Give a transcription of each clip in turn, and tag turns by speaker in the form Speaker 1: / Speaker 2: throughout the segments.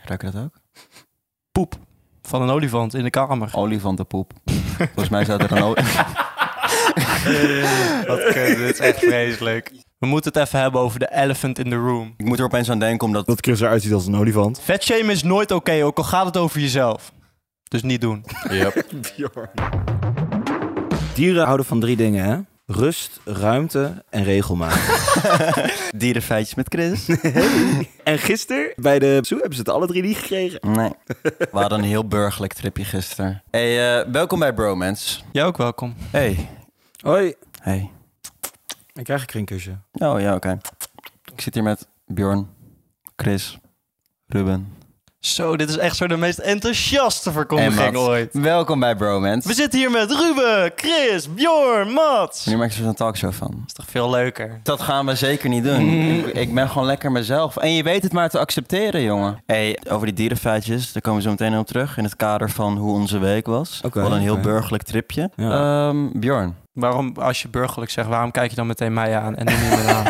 Speaker 1: Gebruik je dat ook?
Speaker 2: Poep van een olifant in de kamer.
Speaker 1: Olifantenpoep. Volgens mij staat er een o-
Speaker 2: Eh, Wat kut, dit is echt vreselijk. We moeten het even hebben over de elephant in the room.
Speaker 1: Ik moet er opeens aan denken, omdat...
Speaker 3: Dat Chris eruit ziet als een olifant.
Speaker 2: Vetshamen is nooit oké, ook al gaat het over jezelf. Dus niet doen.
Speaker 3: Dieren houden van drie dingen, hè? Rust, ruimte en regelmaat.
Speaker 1: Dierenfeitjes met Chris.
Speaker 3: en gisteren bij de zoo hebben ze het alle drie niet gekregen.
Speaker 1: Nee. We hadden een heel burgerlijk tripje gisteren. Hey, eh, welkom bij Bromance.
Speaker 2: Jij ook welkom.
Speaker 1: Hey.
Speaker 3: Hoi.
Speaker 1: Hey.
Speaker 3: Ik krijg een kringkusje.
Speaker 1: Oh ja, oké. Ik zit hier met Bjorn, Chris, Ruben
Speaker 2: Zo, dit is echt zo de meest enthousiaste
Speaker 1: en
Speaker 2: verkondiging
Speaker 1: Mats.
Speaker 2: ooit.
Speaker 1: Welkom bij Bromance.
Speaker 2: We zitten hier met Ruben, Chris, Bjorn, Mats.
Speaker 1: Nu
Speaker 2: Dat
Speaker 1: maak je er zo'n talkshow van.
Speaker 2: is toch veel leuker.
Speaker 1: Dat gaan we zeker niet doen.
Speaker 2: Mm.
Speaker 1: Ik, ik ben gewoon lekker mezelf. En je weet het maar te accepteren, jongen. Hey, over die dierenfeitjes, daar komen we zo meteen op terug. In het kader van hoe onze week was.
Speaker 3: Oké,
Speaker 1: We hadden een heel
Speaker 3: oké.
Speaker 1: burgerlijk tripje.
Speaker 3: Ja.
Speaker 1: Ehm, Bjorn.
Speaker 2: Waarom, als je burgerlijk zegt, waarom kijk je dan meteen mij aan en niet meer aan?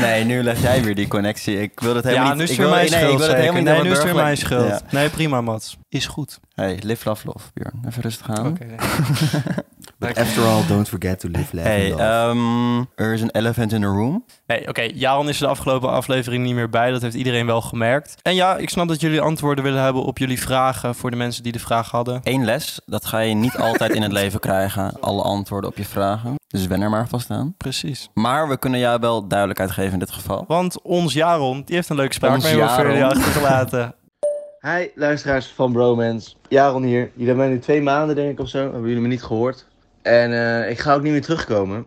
Speaker 1: Nee, nu leg jij weer die connectie. Ik wil het helemaal
Speaker 2: ja,
Speaker 1: niet...
Speaker 2: nu is het
Speaker 1: ik
Speaker 2: weer
Speaker 1: wil-
Speaker 2: mijn
Speaker 1: nee,
Speaker 2: schuld.
Speaker 1: ik wil het
Speaker 2: zeker.
Speaker 1: helemaal niet
Speaker 2: nee, nu
Speaker 1: over
Speaker 2: is het weer mijn
Speaker 1: burgerlijk-
Speaker 2: schuld. Nee, prima, Mats. Is goed. Hm?
Speaker 1: Ja. Hey, live, love, love, Bjorn. Even rustig aan.
Speaker 3: But after all, don't forget to live, laugh
Speaker 1: Hey,
Speaker 3: and love.
Speaker 1: ehm, er is een elephant in the room.
Speaker 2: Nee, oké. Jaron is er de afgelopen aflevering niet meer bij. Dat heeft iedereen wel gemerkt. En ja, ik snap dat jullie antwoorden willen hebben op jullie vragen. Voor de mensen die de vraag hadden.
Speaker 1: Eén les, dat ga je niet altijd in het leven krijgen. Alle antwoorden op je vragen. Dus wen er maar vast aan.
Speaker 2: Precies.
Speaker 1: Maar we kunnen jou wel duidelijkheid geven in dit geval.
Speaker 2: Want ons Jaron, die heeft een leuke spraak
Speaker 1: Ons
Speaker 2: mee over
Speaker 1: Jaron.
Speaker 2: jullie achtergelaten.
Speaker 4: Hi, luisteraars van Bromance. Jaron hier. Jullie hebben mij nu twee maanden, denk ik, of zo. Hebben jullie me niet gehoord. En eh, ik ga ook niet meer terugkomen.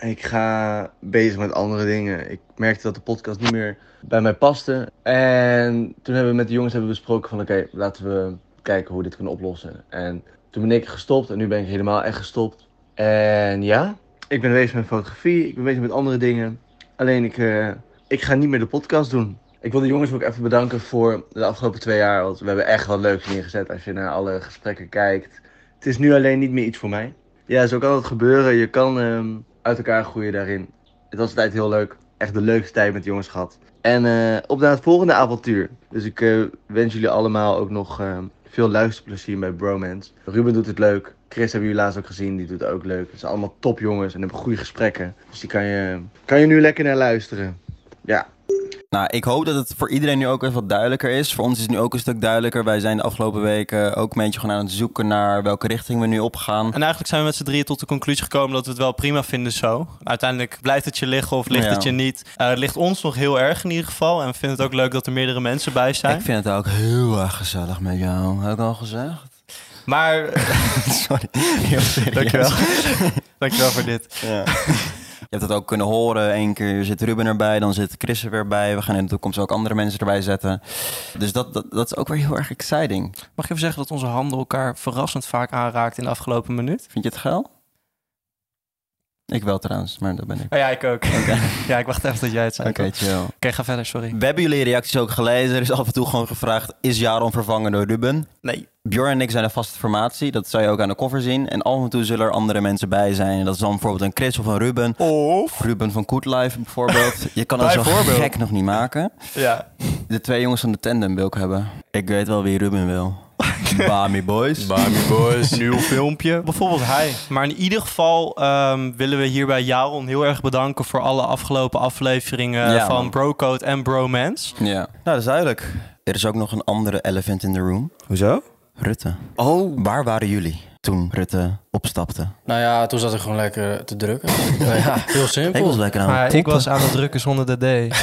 Speaker 4: Ik ga bezig met andere dingen. Ik merkte dat de podcast niet meer bij mij paste. En toen hebben we met de jongens hebben we besproken van... Oké, laten we kijken hoe we dit kunnen oplossen. En toen ben ik gestopt. En nu ben ik helemaal echt gestopt. En ja, ik ben bezig met fotografie. Ik ben bezig met andere dingen. Alleen ik, eh, ik ga niet meer de podcast doen. Ik wil de jongens ook even bedanken voor de afgelopen twee jaar. Want we hebben echt wat leuks neergezet als je naar alle gesprekken kijkt. Het is nu alleen niet meer iets voor mij. Ja, zo kan het gebeuren. Je kan ehm, uit elkaar groeien daarin. Het was tijd heel leuk. Echt de leukste tijd met de jongens gehad. En eh, op naar het volgende avontuur. Dus ik eh, wens jullie allemaal ook nog ehm, veel luisterplezier bij Bromance. Ruben doet het leuk. Chris hebben jullie laatst ook gezien. Die doet het ook leuk. Het zijn allemaal topjongens en hebben goede gesprekken. Dus die kan je, kan je nu lekker naar luisteren. Ja.
Speaker 1: Nou, ik hoop dat het voor iedereen nu ook even wat duidelijker is. Voor ons is het nu ook een stuk duidelijker. Wij zijn de afgelopen weken ook een beetje gewoon aan het zoeken naar welke richting we nu opgaan.
Speaker 2: En eigenlijk zijn we met z'n drieën tot de conclusie gekomen dat we het wel prima vinden zo. Uiteindelijk blijft het je liggen of ligt
Speaker 1: Ja.
Speaker 2: het je niet. Eh, het ligt ons nog heel erg in ieder geval. En we vinden het ook leuk dat er meerdere mensen bij zijn.
Speaker 1: Ik vind het ook heel erg gezellig met jou. Heb ik al gezegd?
Speaker 2: Maar
Speaker 1: Sorry. Heel serieus.
Speaker 2: Dankjewel. Dankjewel voor dit.
Speaker 1: Ja. Je hebt het ook kunnen horen. Eén keer zit Ruben erbij, dan zit Chris er weer bij. We gaan in de toekomst ook andere mensen erbij zetten. Dus dat, dat, dat is ook weer heel erg exciting.
Speaker 2: Mag je even zeggen dat onze handen elkaar verrassend vaak aanraakt in de afgelopen minuut?
Speaker 1: Vind je het geil? Ik wel trouwens, maar dat ben ik.
Speaker 2: Oh ja, ik ook. ja, ik wacht even dat jij het zei.
Speaker 1: Oké, chill.
Speaker 2: Oké, ga verder, sorry.
Speaker 1: We hebben jullie reacties ook gelezen. Er is af en toe gewoon gevraagd: is Jaron vervangen door Ruben?
Speaker 2: Nee.
Speaker 1: Bjorn en ik zijn een vaste formatie. Dat zou je ook aan de cover zien. En af en toe zullen er andere mensen bij zijn. En dat is dan bijvoorbeeld een Chris of een Ruben.
Speaker 2: Of?
Speaker 1: Ruben van Koetlife bijvoorbeeld. Je kan het zo
Speaker 2: Bijvoorbeeld.
Speaker 1: gek nog niet maken.
Speaker 2: Ja.
Speaker 1: De twee jongens van de tandem wil ik hebben. Ik weet wel wie Ruben wil. Bami eh, boys.
Speaker 2: Nieuw filmpje. Bijvoorbeeld hij. Maar in ieder geval ehm, willen we hierbij Jaron heel erg bedanken voor alle afgelopen afleveringen
Speaker 1: Ja,
Speaker 2: van
Speaker 1: man.
Speaker 2: Brocode en Bromance.
Speaker 1: ja. Nou, dat is duidelijk. Er is ook nog een andere elephant in the room.
Speaker 3: Hoezo?
Speaker 1: Rutte. Oh. Waar waren jullie toen Rutte opstapte?
Speaker 5: Nou ja, toen zat ik gewoon lekker te drukken. Nou ja, heel
Speaker 1: Ik was
Speaker 5: simpel.
Speaker 1: lekker aan het poppen.
Speaker 2: aan het drukken zonder de D.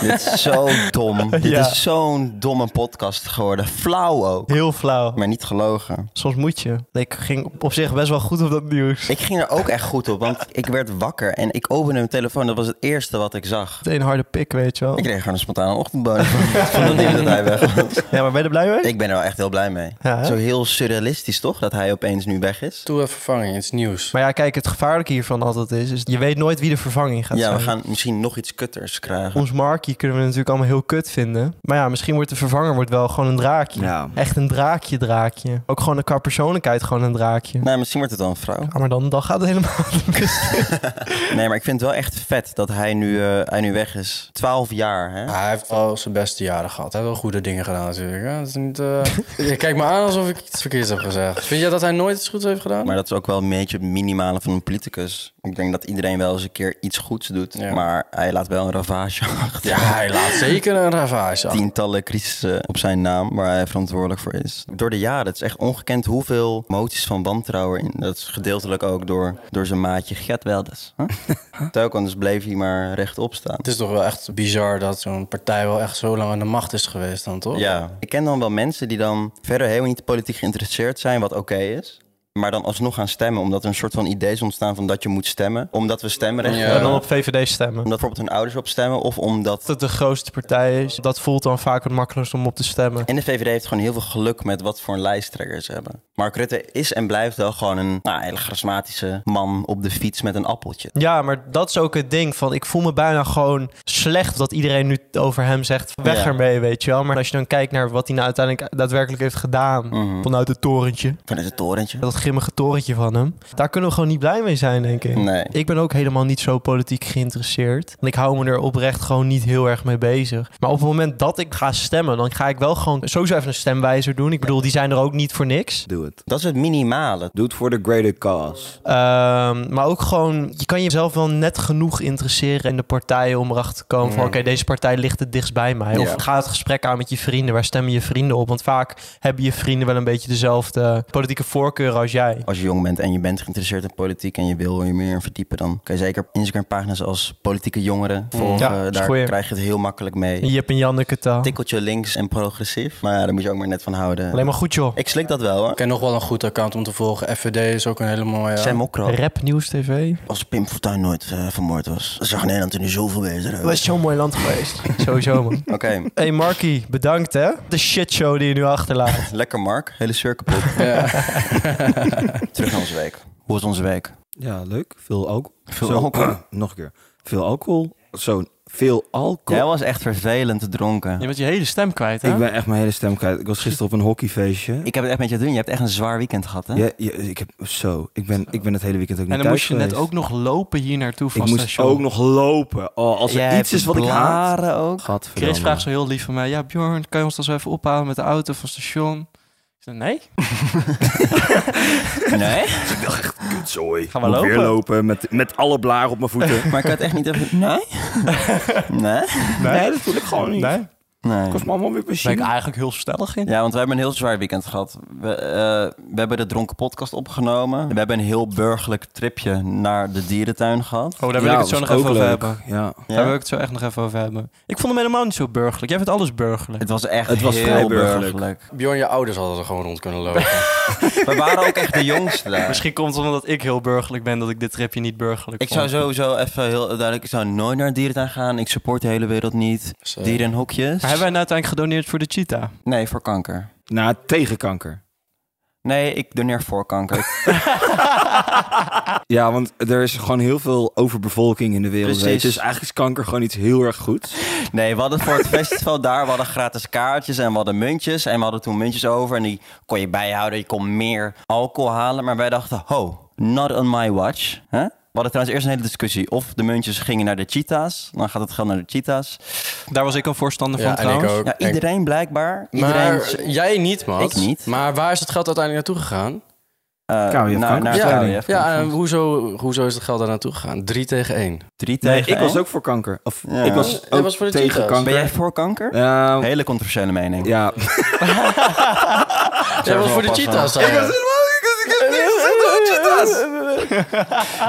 Speaker 1: Dit is zo dom. Dit
Speaker 2: Ja.
Speaker 1: is zo'n domme podcast geworden. Flauw ook.
Speaker 2: Heel flauw.
Speaker 1: Maar niet gelogen.
Speaker 2: Soms moet je. Ik ging op- op zich best wel goed op dat nieuws.
Speaker 1: Ik ging er ook echt goed op, want ik werd wakker en ik opende mijn telefoon. Dat was het eerste wat ik zag.
Speaker 2: Meteen harde pik, weet je wel.
Speaker 1: Ik kreeg gewoon een spontane ochtendbonus van- van dat ding dat hij weg was.
Speaker 2: Ja, maar ben je er blij mee?
Speaker 1: Ik ben er wel echt heel blij mee.
Speaker 2: Ja, hè?
Speaker 1: Zo heel surrealistisch toch, dat hij opeens nu weg is?
Speaker 5: Toen even vervanging, het is nieuws.
Speaker 2: Maar ja, kijk, het gevaarlijke hiervan altijd is, is je weet nooit wie de vervanging gaat
Speaker 1: Ja,
Speaker 2: zijn.
Speaker 1: we gaan misschien nog iets kutters krijgen.
Speaker 2: Ons Markie kunnen we natuurlijk allemaal heel kut vinden. Maar ja, misschien wordt de vervanger wordt wel gewoon een draakje.
Speaker 3: Ja.
Speaker 2: Echt een draakje, draakje. Ook gewoon qua persoonlijkheid gewoon een draakje.
Speaker 1: Nee, Nou, misschien wordt het dan een vrouw.
Speaker 2: Ja, maar dan, dan gaat het helemaal de kust.
Speaker 1: Nee, maar ik vind het wel echt vet dat hij nu, eh, hij nu weg is. 12 jaar, hè?
Speaker 5: Hij heeft wel zijn beste jaren gehad. Hij heeft wel goede dingen gedaan natuurlijk. Hè? Het is niet, eh, je kijkt me aan alsof ik iets verkeerds heb gezegd. Vind jij dat hij nooit iets goeds heeft gedaan?
Speaker 1: Maar dat is ook wel een beetje het minimale van een politicus. Ik denk dat iedereen wel eens een keer iets goeds doet.
Speaker 5: Ja.
Speaker 1: Maar hij laat wel een ravage achter.
Speaker 5: Ja, hij laat zeker een ravage af.
Speaker 1: Tientallen crisissen op zijn naam waar hij verantwoordelijk voor is. Door de jaren, het is echt ongekend hoeveel moties van wantrouwen in. Dat is gedeeltelijk ook door, door zijn maatje Gert Welders. Huh? Telkens bleef hij maar rechtop staan.
Speaker 5: Het is toch wel echt bizar dat zo'n partij wel echt zo lang aan de macht is geweest dan, toch?
Speaker 1: Ja. Ik ken dan wel mensen die dan verder helemaal niet politiek geïnteresseerd zijn, wat oké is. Maar dan alsnog gaan stemmen, omdat er een soort van idee is ontstaan van dat je moet stemmen. Omdat we stemrecht
Speaker 5: Ja.
Speaker 2: En
Speaker 1: hebben.
Speaker 2: dan
Speaker 1: Omdat
Speaker 2: op VVD stemmen.
Speaker 1: bijvoorbeeld hun ouders op stemmen of omdat...
Speaker 2: Dat het de grootste partij is, dat voelt dan vaak het makkelijkst om op te stemmen.
Speaker 1: En de VVD heeft gewoon heel veel geluk met wat voor een lijsttrekker ze hebben. Mark Rutte is en blijft wel gewoon een nou, hele charismatische man op de fiets met een appeltje.
Speaker 2: Ja, maar dat is ook het ding van ik voel me bijna gewoon slecht dat iedereen nu over hem zegt weg
Speaker 1: Ja.
Speaker 2: ermee, weet je wel. Maar als je dan kijkt naar wat hij nou uiteindelijk daadwerkelijk heeft gedaan
Speaker 1: Mhm.
Speaker 2: vanuit het torentje,
Speaker 1: Vanuit het torentje.
Speaker 2: dat grimmige torentje van hem, daar kunnen we gewoon niet blij mee zijn, denk ik.
Speaker 1: Nee.
Speaker 2: Ik ben ook helemaal niet zo politiek geïnteresseerd. En ik hou me er oprecht gewoon niet heel erg mee bezig. Maar op het moment dat ik ga stemmen, dan ga ik wel gewoon sowieso even een stemwijzer doen. Ik bedoel, die zijn er ook niet voor niks.
Speaker 3: Doe het.
Speaker 1: Dat is het minimale.
Speaker 3: Doe het voor de greater cause.
Speaker 2: Ehm, maar ook gewoon, je kan jezelf wel net genoeg interesseren in de partijen om erachter te komen van oké, deze partij ligt het dichtst bij mij. Of
Speaker 1: Ja.
Speaker 2: ga het gesprek aan met je vrienden. Waar stemmen je vrienden op? Want vaak hebben je vrienden wel een beetje dezelfde politieke voorkeuren als jij.
Speaker 1: Als je jong bent en je bent geïnteresseerd in politiek en je wil je meer in verdiepen, dan kan je zeker Instagram-pagina's als politieke jongeren volgen.
Speaker 2: Mm. Ja, is
Speaker 1: Daar
Speaker 2: goeie.
Speaker 1: krijg je het heel makkelijk mee.
Speaker 2: Je hebt een Janneke taal.
Speaker 1: tikkeltje links en progressief. Maar ja, daar moet je ook maar net van houden.
Speaker 2: Alleen maar goed joh.
Speaker 1: Ik slik dat wel hoor.
Speaker 5: Ik ken nog wel een goed account om te volgen. FVD is ook een hele mooie.
Speaker 1: Sam Okro.
Speaker 2: Rap Nieuws TV.
Speaker 1: Als Pim Fortuyn nooit eh, vermoord was, dan zag Nederland er nu zoveel bezig uit.
Speaker 2: Dat is zo'n mooi land geweest. Sowieso man.
Speaker 1: Oké,
Speaker 2: Hey Marky, bedankt hè. De shitshow die je nu achterlaat.
Speaker 1: lekker Mark. Hele cirkelpop.
Speaker 5: Ja.
Speaker 1: Terug naar onze week. Hoe was onze week?
Speaker 3: Ja, leuk. Veel alcohol.
Speaker 1: Veel alcohol.
Speaker 3: Nog een keer. Veel alcohol. Zo, veel alcohol.
Speaker 1: Jij was echt vervelend dronken.
Speaker 2: Je bent je hele stem kwijt
Speaker 3: Ik ben echt mijn hele stem kwijt. Ik was gisteren op een hockeyfeestje.
Speaker 1: Ik heb het echt met je te doen. Je hebt echt een zwaar weekend gehad, hè?
Speaker 3: Ja, ja, ik heb zo. Ik ben, ik ben het hele weekend ook niet thuis geweest.
Speaker 2: nog lopen hier naartoe
Speaker 3: Ik moest ook nog lopen. Oh, als er
Speaker 1: Jij
Speaker 3: iets
Speaker 1: hebt
Speaker 3: is wat ik haat.
Speaker 1: blaren ook.
Speaker 3: Gadverdamme.
Speaker 2: Chris vraagt zo heel lief van mij: Ja, Bjorn, kan je ons dan zo even ophalen met de auto van station? Ik zei: Nee.
Speaker 1: Nee?
Speaker 3: Kutzooi.
Speaker 2: Gaan we
Speaker 3: Moet Weer
Speaker 2: lopen?
Speaker 3: lopen met, met alle blaren op mijn voeten.
Speaker 1: Maar ik had echt niet even... Nee? Nee?
Speaker 3: nee, dat voel ik gewoon niet.
Speaker 2: Nee.
Speaker 1: Nee.
Speaker 3: Ik was mama weer
Speaker 2: Ben ik
Speaker 3: plezier.
Speaker 2: eigenlijk heel stellig in?
Speaker 1: Ja, want we hebben een heel zwaar weekend gehad. We, eh, we hebben de Dronken Podcast opgenomen. We hebben een heel burgerlijk tripje naar de dierentuin gehad.
Speaker 2: Oh, daar wil
Speaker 3: Ja,
Speaker 2: ik het zo
Speaker 3: was
Speaker 2: nog
Speaker 3: ook
Speaker 2: even over
Speaker 3: leuk.
Speaker 2: hebben.
Speaker 3: Ja.
Speaker 1: Ja.
Speaker 2: Daar wil ik het zo echt nog even over hebben. Ik vond hem helemaal niet zo burgerlijk. Jij vindt alles burgerlijk.
Speaker 1: Het was echt
Speaker 3: Het was
Speaker 1: heel
Speaker 3: vrij
Speaker 1: burgerlijk.
Speaker 3: burgerlijk.
Speaker 5: Bjorn, je ouders hadden er gewoon rond kunnen lopen.
Speaker 1: We waren ook echt de jongste daar.
Speaker 2: Misschien komt het omdat ik heel burgerlijk ben dat ik dit tripje niet burgerlijk
Speaker 1: Ik zou
Speaker 2: vond.
Speaker 1: sowieso even heel duidelijk... Ik zou nooit naar een dierentuin gaan. Ik support de hele wereld niet.
Speaker 5: Dus, eh,
Speaker 1: Dieren en hokjes.
Speaker 2: Maar hebben wij nou uiteindelijk gedoneerd voor de cheetah?
Speaker 1: Nee, voor kanker.
Speaker 3: Na tegenkanker.
Speaker 1: Nee, ik doneer voor kanker.
Speaker 3: Ja, want er is gewoon heel veel overbevolking in de wereld.
Speaker 1: Precies.
Speaker 3: weet je. Dus eigenlijk is kanker gewoon iets heel erg goeds.
Speaker 1: Nee, we hadden voor het festival daar... We hadden gratis kaartjes en we hadden muntjes. En we hadden toen muntjes over. En die kon je bijhouden. Je kon meer alcohol halen. Maar wij dachten, ho, not on my watch. hè? We hadden trouwens eerst een hele discussie. Of de muntjes gingen naar de cheetahs. Dan gaat het geld naar de cheetahs.
Speaker 2: Daar was ik een voorstander van
Speaker 5: ja, en ik
Speaker 2: trouwens.
Speaker 5: ook.
Speaker 1: Ja, iedereen blijkbaar.
Speaker 5: En-
Speaker 1: Iedereen
Speaker 5: maar jij niet, man.
Speaker 1: Ik niet.
Speaker 5: Maar waar is het geld uiteindelijk naartoe gegaan?
Speaker 1: eh,
Speaker 3: KWF
Speaker 1: naar, naar
Speaker 3: kanker.
Speaker 5: ja,
Speaker 1: KWF.
Speaker 5: ja en hoezo, hoezo is het geld daar naartoe gegaan? Drie tegen één.
Speaker 1: Drie
Speaker 3: Nee,
Speaker 1: tegen
Speaker 3: ik was
Speaker 1: één.
Speaker 3: ook voor kanker. Of
Speaker 1: Ja.
Speaker 3: ik was
Speaker 5: Jij
Speaker 3: ook
Speaker 5: was voor de
Speaker 3: tegen
Speaker 5: cheetahs.
Speaker 1: Ben
Speaker 3: kanker.
Speaker 1: jij voor kanker?
Speaker 3: Ja,
Speaker 1: Hele controversiële mening.
Speaker 3: ja.
Speaker 5: Jij was voor de
Speaker 1: oppassen.
Speaker 5: cheetahs.
Speaker 3: Ik was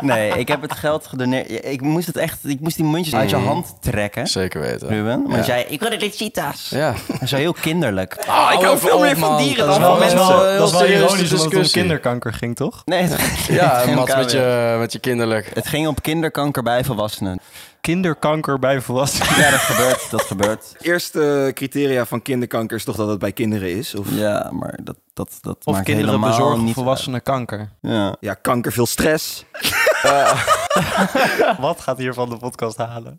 Speaker 1: Nee, ik heb het geld gedoneerd. Ik moest het echt, ik moest die muntjes uit je hand trekken.
Speaker 5: Zeker weten.
Speaker 1: Ruben, maar jij, ik wil de cheetahs.
Speaker 5: Ja.
Speaker 1: Zo heel kinderlijk. Oh,
Speaker 5: Ah,
Speaker 3: ik hou veel meer van dieren dan van
Speaker 2: Dat is wel- dat is wel ironisch omdat het om
Speaker 5: discussie.
Speaker 2: kinderkanker ging, toch?
Speaker 1: Nee, het, het
Speaker 5: Ja,
Speaker 1: ging om
Speaker 5: Mat, met
Speaker 1: KWF.
Speaker 5: je, met je kinderlijk.
Speaker 1: Het ging op kinderkanker bij volwassenen.
Speaker 2: Kinderkanker bij volwassenen.
Speaker 1: Ja, dat gebeurt, dat gebeurt.
Speaker 3: Eerste criteria van kinderkanker is toch dat het bij kinderen is? Of
Speaker 1: Ja, maar dat, dat, dat
Speaker 2: Of
Speaker 1: maakt
Speaker 2: kinderen
Speaker 1: helemaal
Speaker 2: bezorgen
Speaker 1: niet
Speaker 2: volwassenen kanker.
Speaker 1: uit. Ja.
Speaker 3: ja, kanker veel stress.
Speaker 2: Wat gaat hier van de podcast halen?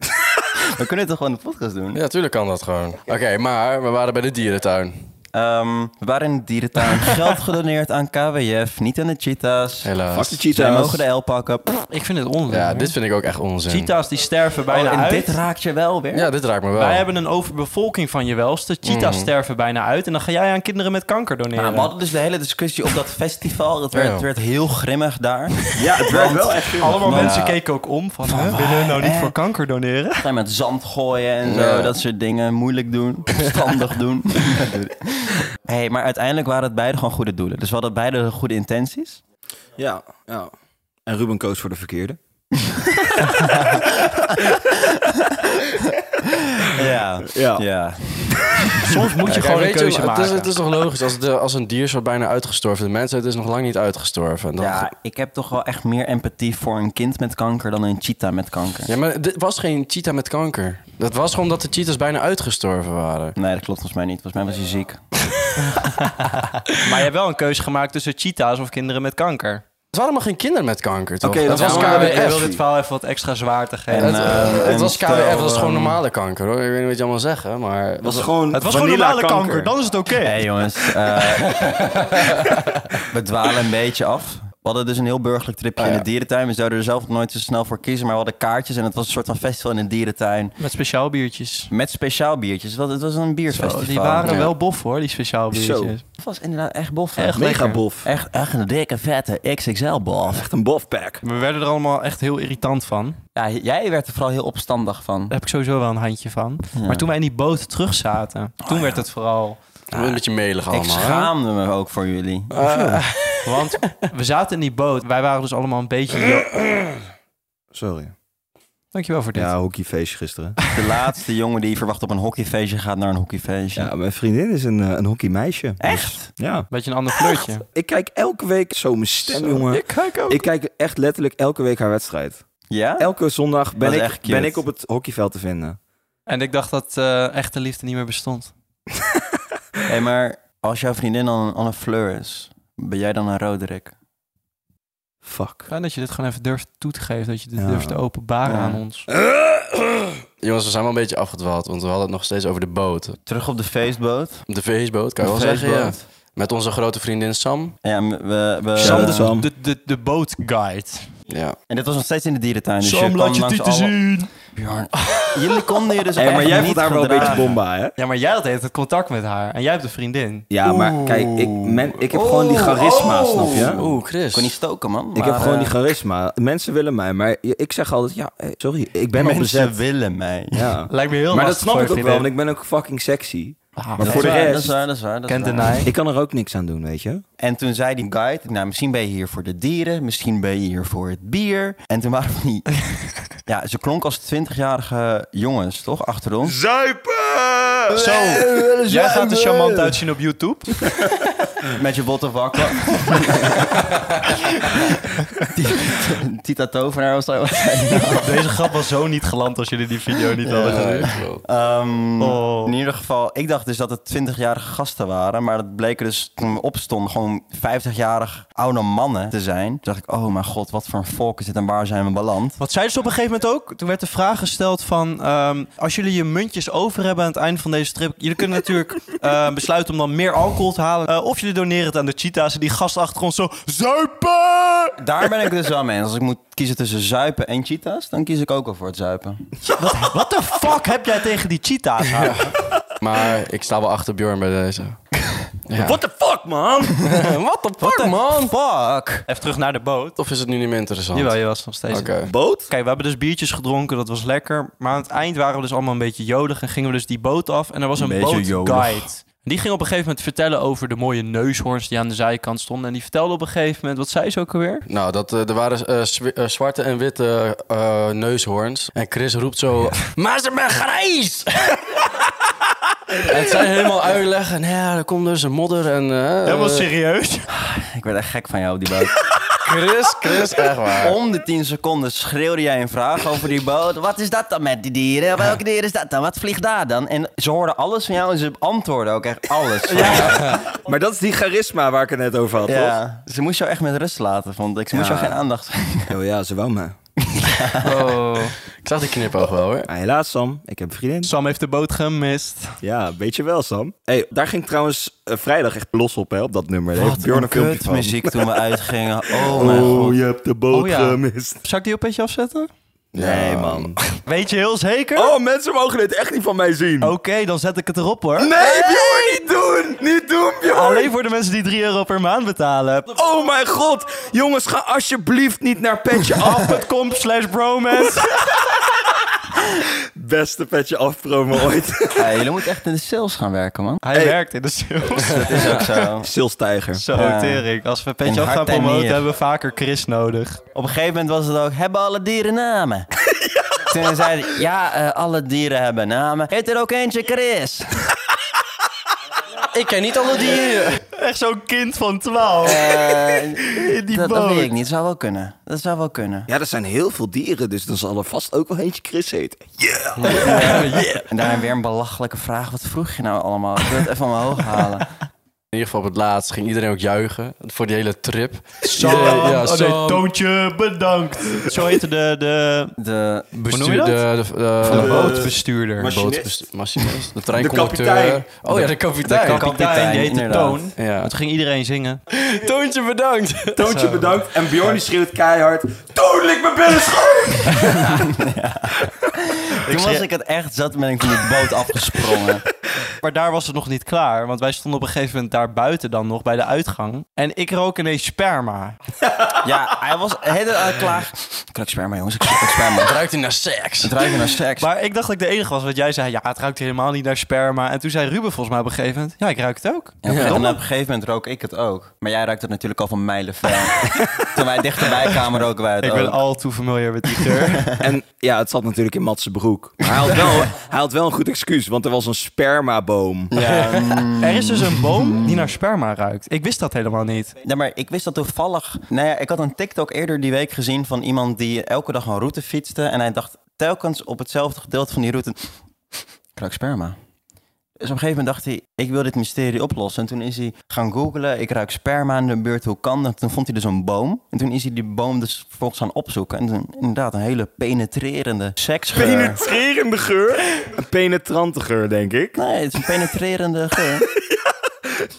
Speaker 1: We kunnen toch gewoon een podcast doen?
Speaker 5: Ja, tuurlijk kan dat gewoon. Oké, maar we waren bij de dierentuin.
Speaker 1: Ehm, we waren in de dierentuin. Geld gedoneerd aan KWF, niet aan de cheetahs.
Speaker 5: Helaas.
Speaker 3: Fuck de
Speaker 1: Zij
Speaker 3: cheetahs.
Speaker 1: mogen de L pakken. Oh, Pff,
Speaker 2: Ik vind het onzin.
Speaker 5: Ja, dit vind ik ook echt onzin.
Speaker 2: Cheetahs die sterven bijna
Speaker 1: oh, en
Speaker 2: uit.
Speaker 1: dit raakt je wel weer.
Speaker 5: Ja, dit raakt me wel.
Speaker 2: Wij hebben een overbevolking van je welste. Cheetahs sterven bijna uit. En dan ga jij aan kinderen met kanker doneren.
Speaker 1: Nou, we hadden dus de hele discussie op dat festival. Het werd,
Speaker 5: Ja.
Speaker 1: het werd heel grimmig daar.
Speaker 3: Ja, het werkt wel echt veel.
Speaker 2: Allemaal
Speaker 1: Nou,
Speaker 2: mensen keken ook om van, hè, willen we nou niet
Speaker 1: hè?
Speaker 2: voor kanker doneren?
Speaker 1: Ga je met zand gooien en zo,
Speaker 5: Ja.
Speaker 1: dat soort dingen. Moeilijk doen, verstandig doen. hey, maar uiteindelijk waren het beide gewoon goede doelen. Dus we hadden beide goede intenties.
Speaker 3: Ja, ja. En Ruben koos voor de verkeerde.
Speaker 1: Ja,
Speaker 3: Ja.
Speaker 1: ja.
Speaker 2: Soms moet je
Speaker 5: Ja,
Speaker 2: gewoon
Speaker 5: weet
Speaker 2: een keuze
Speaker 5: het
Speaker 2: maken.
Speaker 5: Is, het is toch logisch, als, de, als een dier zo bijna uitgestorven is, mensen, het is nog lang niet uitgestorven. Dan,
Speaker 1: Ja,
Speaker 5: ja.
Speaker 1: ik heb toch wel echt meer empathie voor een kind met kanker dan een cheetah met kanker.
Speaker 5: maar dit was geen cheetah met kanker. Dat was gewoon dat de cheetahs bijna uitgestorven waren.
Speaker 1: Nee, dat klopt volgens mij niet. Volgens mij was hij ziek.
Speaker 2: Maar je hebt wel een keuze gemaakt tussen cheetahs of kinderen met kanker.
Speaker 5: Het waren allemaal geen kinderen met kanker, toch?
Speaker 3: Oké,
Speaker 5: dat,
Speaker 3: dat
Speaker 5: was
Speaker 3: gaan we-
Speaker 2: Ik wil
Speaker 5: KWF.
Speaker 2: dit verhaal even wat extra zwaar te geven.
Speaker 1: En,
Speaker 5: Het,
Speaker 1: eh,
Speaker 5: eh,
Speaker 1: en
Speaker 5: het was
Speaker 1: stel,
Speaker 5: KWF, dat is gewoon
Speaker 1: ehm,
Speaker 5: normale kanker hoor. Ik weet niet wat je allemaal zeggen, maar...
Speaker 3: Het was gewoon
Speaker 2: het was gewoon normale kanker. dan is het oké.
Speaker 1: Hé hey, jongens, eh, we dwalen een beetje af. We hadden dus een heel burgerlijk tripje in de dierentuin. We zouden er zelf nog nooit zo snel voor kiezen, maar we hadden kaartjes. En het was een soort van festival in een dierentuin
Speaker 2: Met speciaal biertjes. Oh,
Speaker 1: met speciaal biertjes. Want Het was een bierfestival.
Speaker 2: die waren
Speaker 5: Ja.
Speaker 2: wel bof hoor, die speciaal biertjes.
Speaker 1: Het was inderdaad echt bof.
Speaker 2: Echt
Speaker 3: mega
Speaker 2: lekker.
Speaker 3: bof.
Speaker 1: Echt, echt een dikke, vette XXL-bof.
Speaker 3: Echt een bofpack.
Speaker 2: We werden er allemaal echt heel irritant van.
Speaker 1: Ja, jij werd er vooral heel opstandig van.
Speaker 2: Daar heb ik sowieso wel een handje van.
Speaker 1: Ja.
Speaker 2: Maar toen wij in die boot terug zaten, toen werd het vooral...
Speaker 5: een beetje melig
Speaker 1: Ik
Speaker 5: allemaal. hè?
Speaker 1: schaamde me ook voor jullie.
Speaker 3: Eh,
Speaker 2: Want we zaten in die boot. Wij waren dus allemaal een beetje... jo-
Speaker 3: Sorry.
Speaker 2: Dankjewel voor dit.
Speaker 3: Ja, hockeyfeestje gisteren.
Speaker 1: De laatste jongen die verwacht op een hockeyfeestje gaat naar een hockeyfeestje.
Speaker 3: Ja, mijn vriendin is een, eh, een hockeymeisje.
Speaker 1: Echt?
Speaker 3: Ja.
Speaker 2: Beetje een ander flirtje.
Speaker 3: Ik kijk elke week zo mijn stem, jongen.
Speaker 2: Ik kijk ook.
Speaker 3: Ik kijk echt letterlijk elke week haar wedstrijd.
Speaker 1: Ja?
Speaker 3: Elke zondag
Speaker 1: Dat
Speaker 3: ben
Speaker 1: is
Speaker 3: ik,
Speaker 1: echt cute.
Speaker 3: ben ik op het hockeyveld te vinden.
Speaker 2: En ik dacht dat eh, echte liefde niet meer bestond.
Speaker 1: Hé, maar als jouw vriendin dan al een fleur is, ben jij dan een Roderick?
Speaker 3: Fuck.
Speaker 2: Fijn dat je dit gewoon even durft toe te geven. Dat je dit
Speaker 3: Ja.
Speaker 2: durft te openbaren
Speaker 1: Ja.
Speaker 2: aan ons.
Speaker 5: Jongens, we zijn wel een beetje afgedwaald, want we hadden het nog steeds over de boot.
Speaker 1: Terug op de feestboot.
Speaker 5: De feestboot, kan je
Speaker 1: De
Speaker 5: wel zeggen, ja.
Speaker 1: feestboot.
Speaker 5: Met onze grote vriendin Sam.
Speaker 1: Ja, m- we... we
Speaker 3: Sam
Speaker 1: eh,
Speaker 3: de Zwa- Sam.
Speaker 2: dus De, de, de bootguide.
Speaker 5: Ja.
Speaker 1: En dit was nog steeds in de dierentuin. Dus je
Speaker 2: Sam,
Speaker 1: kwam
Speaker 2: laat je
Speaker 1: langs
Speaker 2: tieten
Speaker 1: alle-
Speaker 2: zien.
Speaker 1: Bjorn. Jullie konden je dus
Speaker 3: Hey,
Speaker 1: echt
Speaker 3: maar jij
Speaker 1: niet
Speaker 3: vond haar wel een beetje
Speaker 1: gedragen.
Speaker 3: bomba, hè?
Speaker 2: Ja, maar jij had het contact met haar. En jij hebt een vriendin.
Speaker 3: Ja, maar kijk, ik, men, ik heb gewoon die charisma, snap je?
Speaker 5: Oeh,
Speaker 1: Ik
Speaker 5: Chris.
Speaker 1: kon niet stoken, man.
Speaker 3: Ik
Speaker 1: maar,
Speaker 3: heb gewoon
Speaker 1: eh,
Speaker 3: die charisma. Mensen willen mij, maar je- ik zeg altijd, ja, eh, sorry, ik ben al
Speaker 1: Mensen
Speaker 3: bezet.
Speaker 1: willen mij.
Speaker 3: Ja.
Speaker 2: Lijkt me heel
Speaker 3: Maar dat
Speaker 2: lastig
Speaker 3: snap
Speaker 2: voor
Speaker 3: ik
Speaker 2: je
Speaker 3: ook wel, want
Speaker 2: vriendin.
Speaker 3: ik ben ook fucking sexy.
Speaker 2: Ah,
Speaker 3: Maar
Speaker 1: Dat
Speaker 3: voor
Speaker 1: is
Speaker 3: de
Speaker 1: waar,
Speaker 3: rest-
Speaker 1: Dat is waar, dat is waar. dat is
Speaker 2: Kent
Speaker 1: waar.
Speaker 2: de naai.
Speaker 3: Ik kan er ook niks aan doen, weet je?
Speaker 1: En toen zei die guide, nou, misschien ben je hier voor de dieren, misschien ben je hier voor het bier. En toen waren we die... ja, ze klonk als twintigjarige jongens, toch? Achter ons.
Speaker 2: Zo, jij gaat er charmant uitzien op YouTube.
Speaker 1: Met je botten wakker. Ti- Tita Tovenaar was daar.
Speaker 2: Deze grap was zo niet geland als jullie die video niet hadden gezien.
Speaker 1: Ehm,
Speaker 2: Oh.
Speaker 1: In ieder geval, ik dacht dus dat het 20-jarige gasten waren. Maar dat bleken dus toen we opstonden gewoon 50-jarig oude mannen te zijn. Toen dacht ik, oh mijn god, wat voor een volk is dit en waar zijn we beland?
Speaker 2: Wat zeiden ze op een gegeven moment ook? Toen werd de vraag gesteld van... ehm, als jullie je muntjes over hebben aan het einde van deze trip... jullie kunnen natuurlijk eh, besluiten om dan meer alcohol te halen... eh, of jullie doneren het aan de cheetahs en die gast achter ons zo... Zuipen!
Speaker 1: Daar ben ik dus wel mee. eens. Als ik moet kiezen tussen zuipen en cheetahs, dan kies ik ook al voor het zuipen.
Speaker 2: Wat de fuck heb jij tegen die cheetahs?
Speaker 5: Maar ik sta wel achter Bjorn bij deze. Ja.
Speaker 2: What the fuck, man?
Speaker 5: What the fuck, man?
Speaker 1: Fuck!
Speaker 2: Even terug naar de boot.
Speaker 5: Of is het nu niet meer interessant?
Speaker 2: Jawel, je was nog steeds...
Speaker 5: Oké.
Speaker 3: Boot?
Speaker 2: Kijk, we hebben dus biertjes gedronken, dat was lekker. Maar aan het eind waren we dus allemaal een beetje jolig en gingen we dus die boot af. En er was een,
Speaker 1: Een beetje
Speaker 2: bootguide. En Die ging op een gegeven moment vertellen over de mooie neushoorns die aan de zijkant stonden. En die vertelde op een gegeven moment, wat zei ze ook alweer?
Speaker 5: Nou, dat, eh, er waren eh, zwi- eh, zwarte en witte eh, neushoorns. En Chris roept zo... Maar ze zijn grijs! en zij helemaal uitleggen. Nou ja, er komt dus een modder en... eh,
Speaker 2: serieus?
Speaker 1: Ik werd echt gek van jou op die boot.
Speaker 5: Chris, Chris, echt waar.
Speaker 1: Om de 10 seconden schreeuwde jij een vraag over die boot. Wat is dat dan met die dieren? Welke dier is dat dan? Wat vliegt daar dan? En ze hoorden alles van jou en ze antwoorden ook echt alles. van jou.
Speaker 3: Maar dat is die charisma waar ik het net over had,
Speaker 1: Ja, ze moest jou echt met rust laten, vond ik. Ze moest
Speaker 3: Ja.
Speaker 1: jou geen aandacht geven.
Speaker 3: toch? Oh ja, ze wou me.
Speaker 2: Oh.
Speaker 5: Ik zag die knipoog wel hoor.
Speaker 3: Maar helaas, Sam, ik heb een vriendin.
Speaker 2: Sam heeft de boot gemist.
Speaker 3: Ja, weet je wel, Sam. Hey, daar ging trouwens eh, vrijdag echt los op, hè, op dat nummer. Daar heeft
Speaker 1: Wat
Speaker 3: Bjorn
Speaker 1: een
Speaker 3: een filmpje van.
Speaker 1: kutmuziek toen we uitgingen. Oh mijn
Speaker 3: Oh,
Speaker 1: god.
Speaker 3: je hebt de boot
Speaker 2: Oh, ja.
Speaker 3: gemist.
Speaker 2: Zal ik die op petje afzetten?
Speaker 1: Nee man.
Speaker 2: Weet je heel zeker?
Speaker 3: Oh, mensen mogen dit echt niet van mij zien.
Speaker 2: Oké, dan zet ik het erop hoor.
Speaker 3: Nee, Bjorn, niet doen! Niet doen, Bjorn!
Speaker 2: Alleen voor de mensen die 3 euro per maand betalen.
Speaker 3: Oh mijn god! Jongens, ga alsjeblieft niet naar Petje Af.
Speaker 2: Af.com slash bromance.
Speaker 3: Beste Petje Af promo ooit.
Speaker 1: Hey, jullie moeten echt in de sales gaan werken man.
Speaker 2: Hij werkt in de sales.
Speaker 1: Dat is ook zo.
Speaker 3: Sils Tijger.
Speaker 2: Zo,
Speaker 1: Ja.
Speaker 2: tering. Als we
Speaker 1: In
Speaker 2: Petje af gaan
Speaker 1: hart en
Speaker 2: promoten,
Speaker 1: nier.
Speaker 2: hebben we vaker Chris nodig.
Speaker 1: Op een gegeven moment was het ook, hebben alle dieren namen? Toen zei hij, ja, eh, alle dieren hebben namen. Heet er ook eentje Chris?
Speaker 5: Ik ken niet alle dieren.
Speaker 2: Echt zo'n kind van 12.
Speaker 1: Eh,
Speaker 2: In die
Speaker 1: dat, dat
Speaker 2: boot.
Speaker 1: weet ik niet, zou wel kunnen. Dat zou wel kunnen.
Speaker 3: Ja, er zijn heel veel dieren, dus dan zal er vast ook wel eentje Chris heten.
Speaker 1: En daarna weer een belachelijke vraag. Wat vroeg je nou allemaal? Ik wil het even omhoog halen.
Speaker 5: In ieder geval op het laatst ging iedereen ook juichen voor die hele trip.
Speaker 2: Sam,
Speaker 5: Iedereen- ja,
Speaker 2: oh nee,
Speaker 5: Sam.
Speaker 2: Toontje, bedankt. Zo heette de, de,
Speaker 1: De,
Speaker 2: noem je dat?
Speaker 5: Bestuurder, de, de, eh,
Speaker 2: de
Speaker 5: de,
Speaker 2: bootbestuurder.
Speaker 3: Machinist.
Speaker 5: bootbestu- machinist, de treinconducteur.
Speaker 3: kapitein.
Speaker 5: Oh ja, de kapitein.
Speaker 2: de kapitein, die heette
Speaker 1: inderdaad.
Speaker 2: Toon.
Speaker 5: Ja.
Speaker 2: Maar toen ging iedereen zingen.
Speaker 5: Toontje bedankt.
Speaker 3: Toontje bedankt. En Bjorn die schreeuwt keihard. Toon, lik mijn billen schoon!
Speaker 1: toen was ik het echt zat, ben ik van die boot afgesprongen.
Speaker 2: Maar daar was het nog niet klaar, want wij stonden op een gegeven moment daar buiten dan nog, bij de uitgang. En ik rook ineens sperma.
Speaker 1: Ja, hij was helemaal eh, klaar. Ik ruik sperma, jongens. Ik ruik sperma.
Speaker 5: Ruikt hij naar seks?
Speaker 1: Het ruikt naar seks.
Speaker 2: Maar ik dacht dat ik de enige was, want jij zei, ja, het ruikt helemaal niet naar sperma. En toen zei Ruben volgens mij op een gegeven moment, ja, ik ruik het ook.
Speaker 1: Ja, En op een gegeven moment rook ik het ook. Maar jij ruikt het natuurlijk al van mijlen ver. Toen wij dichterbij kwamen roken wij het
Speaker 2: Ik
Speaker 1: ook.
Speaker 2: ben al too familiar met die geur.
Speaker 3: En ja, het zat natuurlijk in Matse broek. Maar hij had, wel, hij had wel een goed excuus, want er was een spermaboom.
Speaker 1: Ja, mm.
Speaker 2: er is dus een boom die naar sperma ruikt. Ik wist dat helemaal niet.
Speaker 1: Nee, maar ik wist dat toevallig. Nou ja, ik had een TikTok eerder die week gezien van iemand die elke dag een route fietste. En hij dacht telkens op hetzelfde gedeelte van die route. Ik ruik sperma. Dus op een gegeven moment dacht hij, ik wil dit mysterie oplossen. En toen is hij gaan googlen, ik ruik sperma in de buurt, hoe kan dat? Toen vond hij dus een boom. En toen is hij die boom dus vervolgens gaan opzoeken. En toen inderdaad een hele penetrerende seksgeur.
Speaker 3: Penetrerende geur. Een penetrante geur, denk ik.
Speaker 1: nee, het is een penetrerende geur.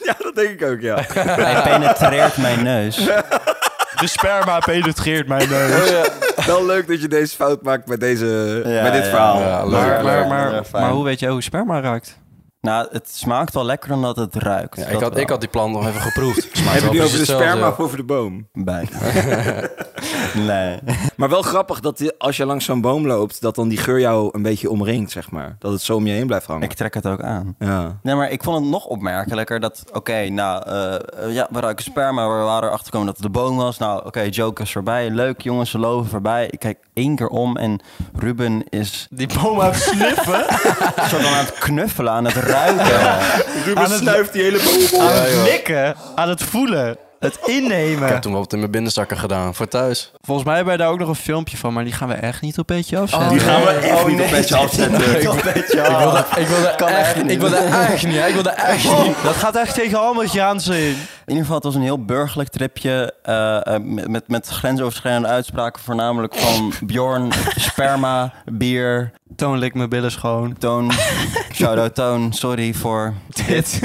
Speaker 3: Ja, dat denk ik ook, ja.
Speaker 1: Hij penetreert mijn neus.
Speaker 2: De sperma penetreert mijn eh, neus.
Speaker 3: Oh Wel leuk dat je deze fout maakt met, deze,
Speaker 1: Ja,
Speaker 3: met dit
Speaker 1: ja.
Speaker 3: verhaal. eh,
Speaker 5: Ja, leuk.
Speaker 2: Maar, maar,
Speaker 1: leuk,
Speaker 2: maar,
Speaker 1: leuk, fijn.
Speaker 2: maar hoe weet jij hoe sperma ruikt?
Speaker 1: Nou, het smaakt wel lekker omdat het ruikt.
Speaker 5: Ja, ik,
Speaker 1: Dat
Speaker 5: had,
Speaker 1: wel.
Speaker 5: ik had die plan nog even geproefd.
Speaker 3: Heb je
Speaker 5: Smaakt wel
Speaker 3: het nu
Speaker 5: precies
Speaker 3: over de
Speaker 5: hetzelfde.
Speaker 3: sperma of over de boom?
Speaker 1: bij. nee.
Speaker 3: Maar wel grappig dat die- als je langs zo'n boom loopt, dat dan die geur jou een beetje omringt, zeg maar. Dat het zo om je heen blijft hangen.
Speaker 1: Ik trek het ook aan.
Speaker 3: Ja.
Speaker 1: Nee, maar ik vond het nog opmerkelijker dat, oké, nou, eh, eh, ja, we ruiken sperma, we waren erachter gekomen dat het de boom was. Nou, oké, jokers voorbij, leuk jongens, ze lopen voorbij. Ik kijk één keer om en Ruben is
Speaker 2: Die boom aan het sniffen.
Speaker 1: soort van aan het knuffelen, aan het ruiken.
Speaker 3: Ruben snuift die hele boom
Speaker 2: aan het likken, aan het voelen, het
Speaker 5: Ik
Speaker 2: innemen.
Speaker 5: heb toen wel wat in mijn binnenzakken gedaan voor thuis.
Speaker 2: Volgens mij hebben wij daar ook nog een filmpje van, maar die gaan we echt niet op beetje afzetten.
Speaker 3: Oh, Die gaan we echt
Speaker 1: Oh,
Speaker 3: niet op petje afzetten.
Speaker 5: Ik wilde, ik wilde echt,
Speaker 1: echt niet.
Speaker 5: Ik wilde echt niet. hè. Ik wilde echt niet.
Speaker 2: Dat gaat echt tegen allemaal Jaanse in.
Speaker 1: In ieder geval, het was een heel burgerlijk tripje eh, eh, met, met, met grensoverschrijdende uitspraken, voornamelijk van Bjorn, sperma, bier,
Speaker 2: Toon lik mijn billen schoon.
Speaker 1: Toon, shout-out Toon, sorry voor...
Speaker 2: Dit.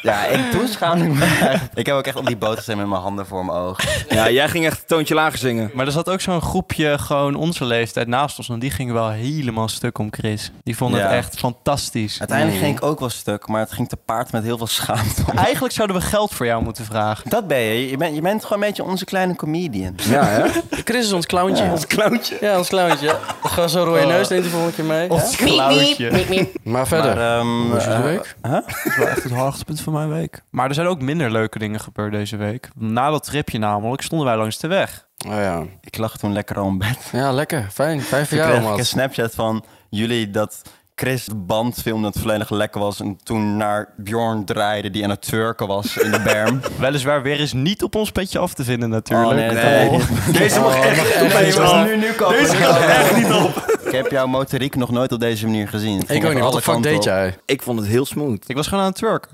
Speaker 1: Ja, ik toen schaamde ik me echt. Ik heb ook echt op die boot gezeten met mijn handen voor mijn ogen.
Speaker 3: Ja, jij ging echt toontje lager zingen.
Speaker 2: Maar er zat ook zo'n groepje gewoon onze leeftijd naast ons. En die gingen wel helemaal stuk om Chris. Die vonden
Speaker 1: Ja.
Speaker 2: het echt fantastisch.
Speaker 1: Uiteindelijk ging ik ook wel stuk, maar het ging te paard met heel veel schaamte.
Speaker 2: Eigenlijk zouden we geld voor jou moeten vragen.
Speaker 1: Ah. Dat ben je. Je bent, je bent gewoon een beetje onze kleine comedian.
Speaker 3: Ja, hè?
Speaker 5: Chris is ons clowntje. Ja, ons,
Speaker 3: Clowntje.
Speaker 5: clowntje. We gaan zo'n rode neus neemt hij volgende keer mee.
Speaker 2: Klauwtje.
Speaker 5: Maar verder.
Speaker 1: Maar, ehm,
Speaker 5: hoe is jullie
Speaker 1: eh,
Speaker 5: week?
Speaker 2: Dat is wel echt het hoogtepunt van mijn week. Maar er zijn ook minder leuke dingen gebeurd deze week. Na dat tripje namelijk stonden wij langs de weg.
Speaker 5: Oh ja.
Speaker 1: ik lag toen lekker al in bed.
Speaker 5: Ja, lekker. Fijn. Fijn voor
Speaker 1: Toen
Speaker 5: jou,
Speaker 1: kreeg ik een
Speaker 5: man.
Speaker 1: Snapchat van jullie dat Chris de band filmde dat het volledig lekker was. En toen naar Bjorn draaide die aan het turken was in de berm.
Speaker 2: Weliswaar weer eens niet op ons petje af te vinden natuurlijk.
Speaker 1: Oh, nee, dat kan
Speaker 3: Deze mag echt niet op
Speaker 5: echt
Speaker 3: petje
Speaker 5: niet.
Speaker 3: af.
Speaker 1: nu, nu kan
Speaker 3: Deze gaat echt niet op.
Speaker 1: Ik heb jouw motoriek nog nooit op deze manier gezien.
Speaker 5: Ik ook niet. Wat de fuck deed jij?
Speaker 3: Ik vond het heel smooth.
Speaker 2: Ik was gewoon aan het twerken.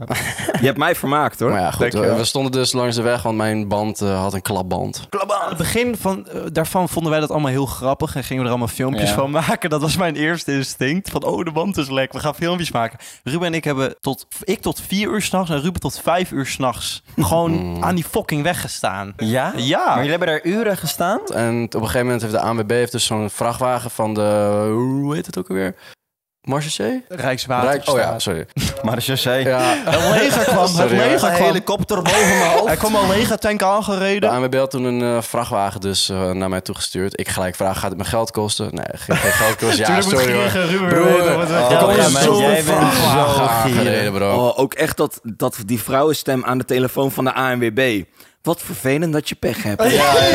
Speaker 3: Je hebt mij vermaakt, hoor.
Speaker 5: Maar ja, goed.
Speaker 2: Dankjewel.
Speaker 5: We, we stonden dus langs de weg, want mijn band eh, had een klapband.
Speaker 2: Aan het begin van, eh, daarvan vonden wij dat allemaal heel grappig en gingen we er allemaal filmpjes
Speaker 1: Ja.
Speaker 2: van maken. Dat was mijn eerste instinct. Van, oh, de band is lek, we gaan filmpjes maken. Ruben en ik hebben tot, ik tot vier uur s'nachts en Ruben tot vijf uur s'nachts gewoon aan die fucking weg gestaan.
Speaker 1: Ja?
Speaker 2: Ja.
Speaker 1: Maar jullie hebben daar uren gestaan?
Speaker 5: En op een gegeven moment heeft de ANWB heeft dus zo'n vrachtwagen van de... Hoe heet het ook alweer? Marchesee? Rijk-
Speaker 2: Rijkswaterstaat.
Speaker 5: oh ja, sorry.
Speaker 1: Maar de chaussee.
Speaker 5: Ja,
Speaker 2: Het leger kwam, het
Speaker 5: Sorry, hoor.
Speaker 2: leger
Speaker 1: Een
Speaker 2: kwam.
Speaker 1: helikopter boven mijn hoofd.
Speaker 2: Hij kwam al legertank
Speaker 5: de
Speaker 2: aangereden.
Speaker 5: ANWB had toen een eh, vrachtwagen dus eh, naar mij toegestuurd. Ik gelijk vraag, gaat het me geld kosten? Nee, geen, geen geld kosten. Ja,
Speaker 2: Tuurlijk moet
Speaker 5: sorry hoor.
Speaker 2: Gierige Ruben
Speaker 5: Broer,
Speaker 2: weten wat we
Speaker 5: oh,
Speaker 1: Ja,
Speaker 2: gedaan
Speaker 5: kom
Speaker 2: hebben.
Speaker 5: je
Speaker 1: maar
Speaker 5: zo'n
Speaker 1: jij bent
Speaker 5: vrachtwagen
Speaker 1: zo gierig.
Speaker 5: aangereden, bro.
Speaker 3: Oh, ook echt dat, dat, die vrouwenstem aan de telefoon van de ANWB. Wat vervelend dat je pech hebt.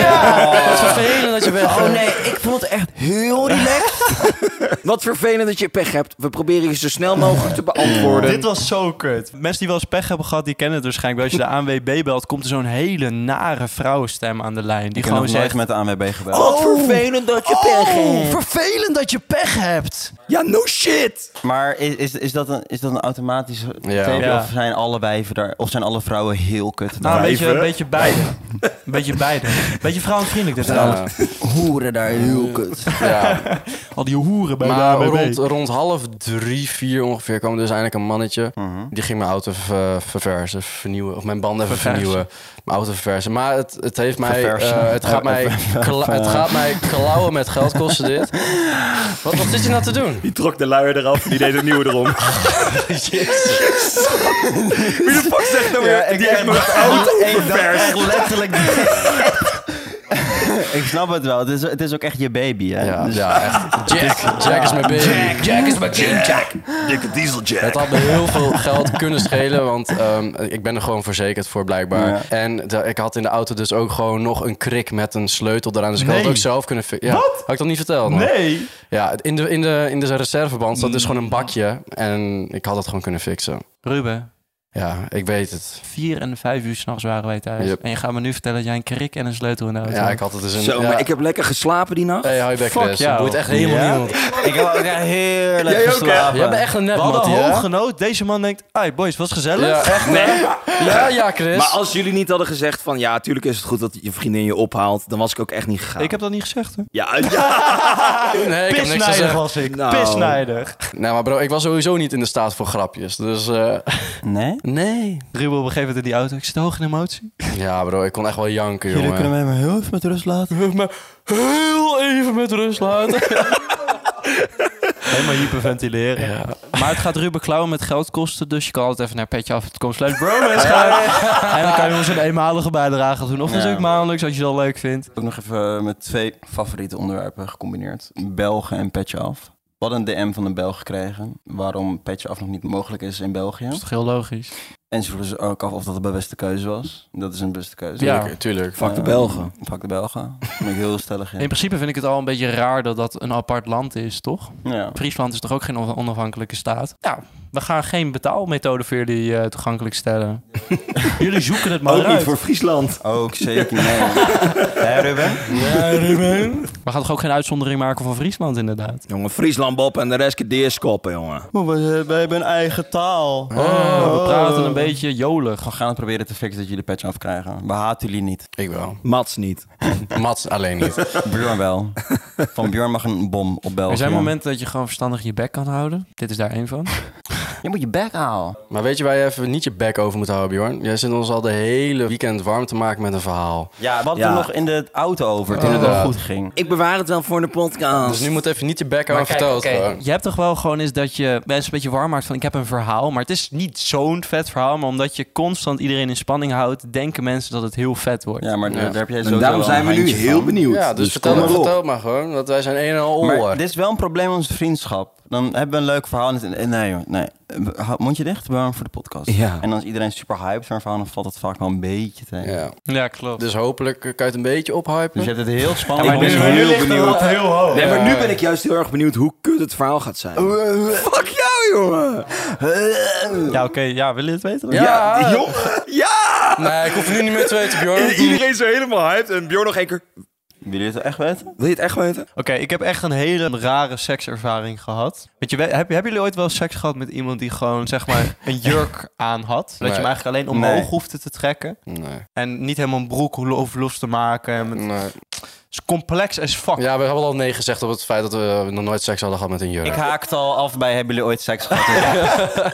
Speaker 5: Wat vervelend dat je bent.
Speaker 1: Oh nee, ik vond het echt heel relaxed.
Speaker 3: Wat vervelend dat je pech hebt. We proberen je zo snel mogelijk te beantwoorden.
Speaker 2: Dit was zo kut. Mensen die wel eens pech hebben gehad, die kennen het waarschijnlijk. Als je de ANWB belt, komt er zo'n hele nare vrouwenstem aan de lijn. Die
Speaker 1: Ik heb nog
Speaker 2: gewoon
Speaker 1: nooit
Speaker 2: zegt...
Speaker 1: met de ANWB gebeld.
Speaker 5: Oh!
Speaker 3: Wat vervelend dat je pech hebt.
Speaker 2: vervelend dat je pech hebt.
Speaker 3: Oh. Ja, no shit.
Speaker 1: Maar is, is, is, dat een, is dat een automatisch
Speaker 5: Ja.
Speaker 1: teken?
Speaker 2: Ja.
Speaker 1: Of zijn alle wijven daar, of zijn alle vrouwen heel kut?
Speaker 2: Nou,
Speaker 1: daar?
Speaker 2: een beetje, een beetje beide. Een beetje beide. Beetje vrouwenvriendelijk dit
Speaker 5: Ja,
Speaker 2: alles.
Speaker 1: hoeren daar heel kut.
Speaker 5: ja.
Speaker 2: Al die hoeren bij
Speaker 5: Maar
Speaker 2: de ANWB.
Speaker 5: rond, rond half drie, vier ongeveer kwam er dus eindelijk een mannetje. Die ging mijn auto ver- verversen, vernieuwen. Of mijn banden even
Speaker 2: Verversen.
Speaker 5: vernieuwen. Mijn auto verversen. Maar het, het heeft mij...
Speaker 1: Verversen.
Speaker 5: eh, het, gaat mij kla- het gaat mij klauwen met geld kosten dit. Wat, wat zit je nou te doen?
Speaker 3: Die trok de luier eraf en die deed een nieuwe erom. Wie de fuck zegt nou weer? die heeft mijn auto ververs.
Speaker 1: letterlijk. ik snap het wel. Het is, het is ook echt je baby, hè?
Speaker 5: Ja,
Speaker 1: Dus-
Speaker 5: ja echt. Jack, Jack is mijn baby.
Speaker 3: Jack is mijn Jack. Jack. Dikke diesel
Speaker 5: Het
Speaker 3: Jack.
Speaker 5: had me heel veel geld kunnen schelen, want ehm, ik ben er gewoon verzekerd voor blijkbaar.
Speaker 1: Ja.
Speaker 5: En de- ik had in de auto dus ook gewoon nog een krik met een sleutel eraan. Dus ik had
Speaker 2: Nee.
Speaker 5: het ook zelf kunnen... fi- Ja,
Speaker 2: Wat?
Speaker 5: Had ik dat niet verteld? man.
Speaker 2: Nee.
Speaker 5: Ja, in de, in de, in de reserveband zat dus gewoon een bakje. En ik had dat gewoon kunnen fixen.
Speaker 2: Ruben,
Speaker 5: Ja, ik weet het.
Speaker 2: vier en vijf uur s'nachts waren wij thuis.
Speaker 5: Yep.
Speaker 2: En je gaat me nu vertellen dat jij een krik en een sleutel in de auto
Speaker 5: Ja,
Speaker 2: had.
Speaker 5: ik had het dus in...
Speaker 3: Zo,
Speaker 5: ja.
Speaker 3: maar ik heb lekker geslapen die nacht.
Speaker 5: Hey, hou je bek,
Speaker 2: Fuck
Speaker 5: Chris.
Speaker 2: jou.
Speaker 5: Het boeit echt helemaal
Speaker 1: Ja?
Speaker 5: niemand.
Speaker 1: Ik heb ook echt heerlijk
Speaker 3: Jij ook, hè?
Speaker 1: geslapen.
Speaker 5: Jij bent echt een net
Speaker 2: We hadden
Speaker 5: mattie, hè?
Speaker 2: hooggenoot. Deze man denkt, ai boys, was gezellig.
Speaker 5: Ja, echt nee. Ja, ja, Chris.
Speaker 3: Maar als jullie niet hadden gezegd van... Ja, tuurlijk is het goed dat je vriendin je ophaalt. Dan was ik ook echt niet gegaan.
Speaker 2: Ik heb dat niet gezegd, hè?
Speaker 3: Ja, ja.
Speaker 5: nee, ik heb niks
Speaker 2: Pisnijdig
Speaker 5: gezegd.
Speaker 2: was ik.
Speaker 3: Nou.
Speaker 2: Pisnijdig.
Speaker 5: Nee, maar bro, ik was sowieso niet in de staat voor grapjes. Dus, eh,
Speaker 1: Nee?
Speaker 5: nee.
Speaker 2: Ruben op een gegeven moment in die auto. Ik zit hoog in emotie.
Speaker 5: Ja, bro, ik kon echt wel janken,
Speaker 1: Jullie kunnen
Speaker 5: jongen.
Speaker 1: mij maar heel even met rust laten.
Speaker 5: Maar heel even met rust laten.
Speaker 2: Helemaal hyperventileren. Maar het gaat Ruben klauwen met geld kosten. Dus je kan altijd even naar petjeaf.com slash bromance gaan. En dan kan je ons een eenmalige bijdrage doen. Of
Speaker 1: Ja.
Speaker 2: natuurlijk maandelijks, als je dat leuk vindt.
Speaker 1: Ook nog even met twee favoriete onderwerpen gecombineerd. Belgen en Petje Af. Wat een DM van een Belg gekregen. Waarom Petje Af nog niet mogelijk is in België.
Speaker 2: Dus Dat is toch heel logisch?
Speaker 1: En ze vroegen ze ook af of dat de beste keuze was. Dat is een beste keuze.
Speaker 2: Ja.
Speaker 5: Tuurlijk, tuurlijk.
Speaker 3: Fuck de
Speaker 1: Eh,
Speaker 3: Belgen.
Speaker 1: Fuck de Belgen. Daar ben ik heel stellig
Speaker 2: In
Speaker 1: in.
Speaker 2: principe vind ik het al een beetje raar dat dat een apart land is, toch?
Speaker 1: Ja.
Speaker 2: Friesland is toch ook geen on- onafhankelijke staat? Nou, we gaan geen betaalmethode voor jullie eh, toegankelijk stellen. jullie zoeken het maar
Speaker 3: Ook niet
Speaker 2: uit.
Speaker 3: voor Friesland.
Speaker 1: Ook zeker niet. Hé Ruben?
Speaker 2: We gaan toch ook geen uitzondering maken van Friesland, inderdaad?
Speaker 3: Jongen, Friesland Bob en de rest kan deerskoppen, jongen.
Speaker 1: We, hebben een eigen taal.
Speaker 3: Oh.
Speaker 2: we praten een beetje jolig.
Speaker 1: We gaan het proberen te fixen dat jullie Petje Af krijgen. We haten jullie niet.
Speaker 5: Ik wel.
Speaker 3: Mats niet.
Speaker 5: Mats alleen niet.
Speaker 1: Björn wel. Van Björn mag een bom op België.
Speaker 2: Er zijn momenten dat je gewoon verstandig je bek kan houden. Dit is daar één van.
Speaker 1: Je moet je bek houden.
Speaker 5: Maar weet je waar je even niet je bek over moet houden, Bjorn? Jij zit ons al de hele weekend warm te maken met een verhaal.
Speaker 1: Ja, we hadden
Speaker 3: Ja.
Speaker 1: het nog in de auto over toen het wel
Speaker 5: Inderdaad.
Speaker 1: goed ging.
Speaker 3: Ik bewaar het wel voor de podcast.
Speaker 5: Dus nu moet even niet je bek over verteld gewoon.
Speaker 2: Je hebt toch wel gewoon eens dat je mensen een beetje warm maakt van ik heb een verhaal. Maar het is niet zo'n vet verhaal. Maar omdat je constant iedereen in spanning houdt, denken mensen dat het heel vet wordt.
Speaker 1: Ja, maar
Speaker 5: Ja.
Speaker 1: daar daar heb jij
Speaker 3: En
Speaker 1: zo.
Speaker 3: daarom zijn we nu heel benieuwd.
Speaker 5: Ja, dus, vertel,
Speaker 3: kom
Speaker 5: maar,
Speaker 3: op.
Speaker 5: vertel maar gewoon. Want wij zijn een en al oor.
Speaker 1: Maar dit is wel een probleem in onze vriendschap. Dan hebben we een leuk verhaal. en het- Nee, joh, nee. Houd- Mondje dicht, warm voor de podcast.
Speaker 3: Ja.
Speaker 1: En dan is iedereen super hyped voor een verhaal. Dan valt het vaak wel een beetje tegen.
Speaker 5: Ja.
Speaker 2: Ja, klopt.
Speaker 5: Dus hopelijk kan je het een beetje ophypen.
Speaker 1: Dus je hebt het heel spannend.
Speaker 2: Ja, maar
Speaker 1: Ik ben
Speaker 2: nu-
Speaker 1: heel
Speaker 3: ligt de
Speaker 1: benieuwd.
Speaker 3: lat
Speaker 2: heel hoog.
Speaker 3: Nee, maar nu ben ik juist heel erg benieuwd hoe kut het verhaal gaat zijn.
Speaker 5: Oh, eh,
Speaker 3: Fuck jou, jongen.
Speaker 2: Ja, oké. Ja, willen jullie het weten?
Speaker 5: Ja.
Speaker 3: jongen. Ja.
Speaker 5: Nee, ik hoef nu niet meer te weten, Bjorn.
Speaker 3: Iedereen zo helemaal hyped en Bjorn nog één keer.
Speaker 1: Willen jullie het echt weten?
Speaker 3: Wil je het echt weten?
Speaker 2: Oké, ik heb echt een hele rare sekservaring gehad. Weet je, we- heb, hebben jullie ooit wel seks gehad met iemand die gewoon, zeg maar, een jurk aan had? Dat je hem
Speaker 5: Nee.
Speaker 2: eigenlijk alleen omhoog
Speaker 1: Nee.
Speaker 2: hoefde te trekken.
Speaker 5: Nee.
Speaker 2: En niet helemaal een broek lo- of los te maken. En met-
Speaker 5: nee.
Speaker 2: is complex as fuck.
Speaker 5: Ja, we hebben al nee gezegd op het feit dat we nog nooit seks hadden gehad met een jurk.
Speaker 1: Ik haakte al af bij hebben jullie ooit seks gehad?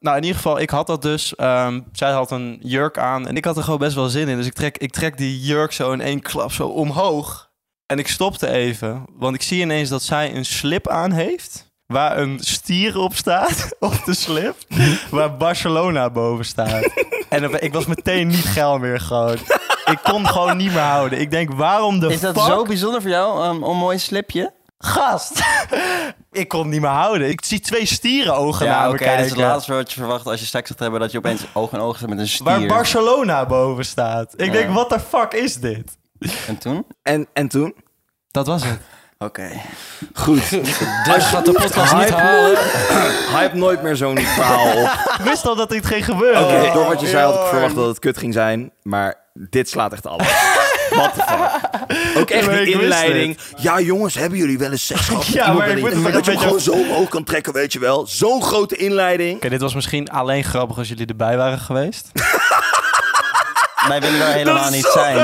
Speaker 2: Nou, in ieder geval, ik had dat dus. Ehm, zij had een jurk aan en ik had er gewoon best wel zin in. Dus ik trek, ik trek die jurk zo in één klap zo omhoog. En ik stopte even, want ik zie ineens dat zij een slip aan heeft. Waar een stier op staat, op de slip. Waar Barcelona boven staat. En dan- ik was meteen niet geil meer gewoon. Ik kon gewoon niet meer houden. Ik denk, waarom de
Speaker 1: Is dat
Speaker 2: fuck?
Speaker 1: zo bijzonder voor jou? Um, een mooi slipje?
Speaker 2: Gast! ik kon niet meer houden. Ik zie twee stierenogen naar
Speaker 1: Ja,
Speaker 2: me
Speaker 1: oké.
Speaker 2: kijken.
Speaker 1: dat is het laatste wat je verwacht als je seks gaat hebben. Dat je opeens oog in oog zit met een stier.
Speaker 2: Waar Barcelona boven staat. Ik denk,
Speaker 1: Ja.
Speaker 2: wat de fuck is dit?
Speaker 1: En toen?
Speaker 3: En, en toen?
Speaker 2: Dat was het.
Speaker 1: Oké.
Speaker 3: Goed.
Speaker 5: Dit gaat de podcast niet halen.
Speaker 3: Hype nooit meer zo'n verhaal op.
Speaker 2: Ik wist al dat dit ging gebeuren.
Speaker 3: Oké, door wat je zei had ik verwacht dat het kut ging zijn, maar dit slaat echt alles. What the fuck? Ook echt
Speaker 2: Ja, maar
Speaker 3: die
Speaker 2: ik wist
Speaker 3: inleiding. Ja jongens, hebben jullie wel eens seks gehad? met
Speaker 2: Ja,
Speaker 3: iemand
Speaker 2: maar ik
Speaker 3: die-
Speaker 2: moet het ook
Speaker 3: dat je
Speaker 2: een
Speaker 3: hem gewoon zo omhoog kan trekken, weet je wel. Zo'n grote inleiding.
Speaker 2: dit was misschien alleen grappig als jullie erbij waren geweest.
Speaker 1: Wij willen daar helemaal niet zijn.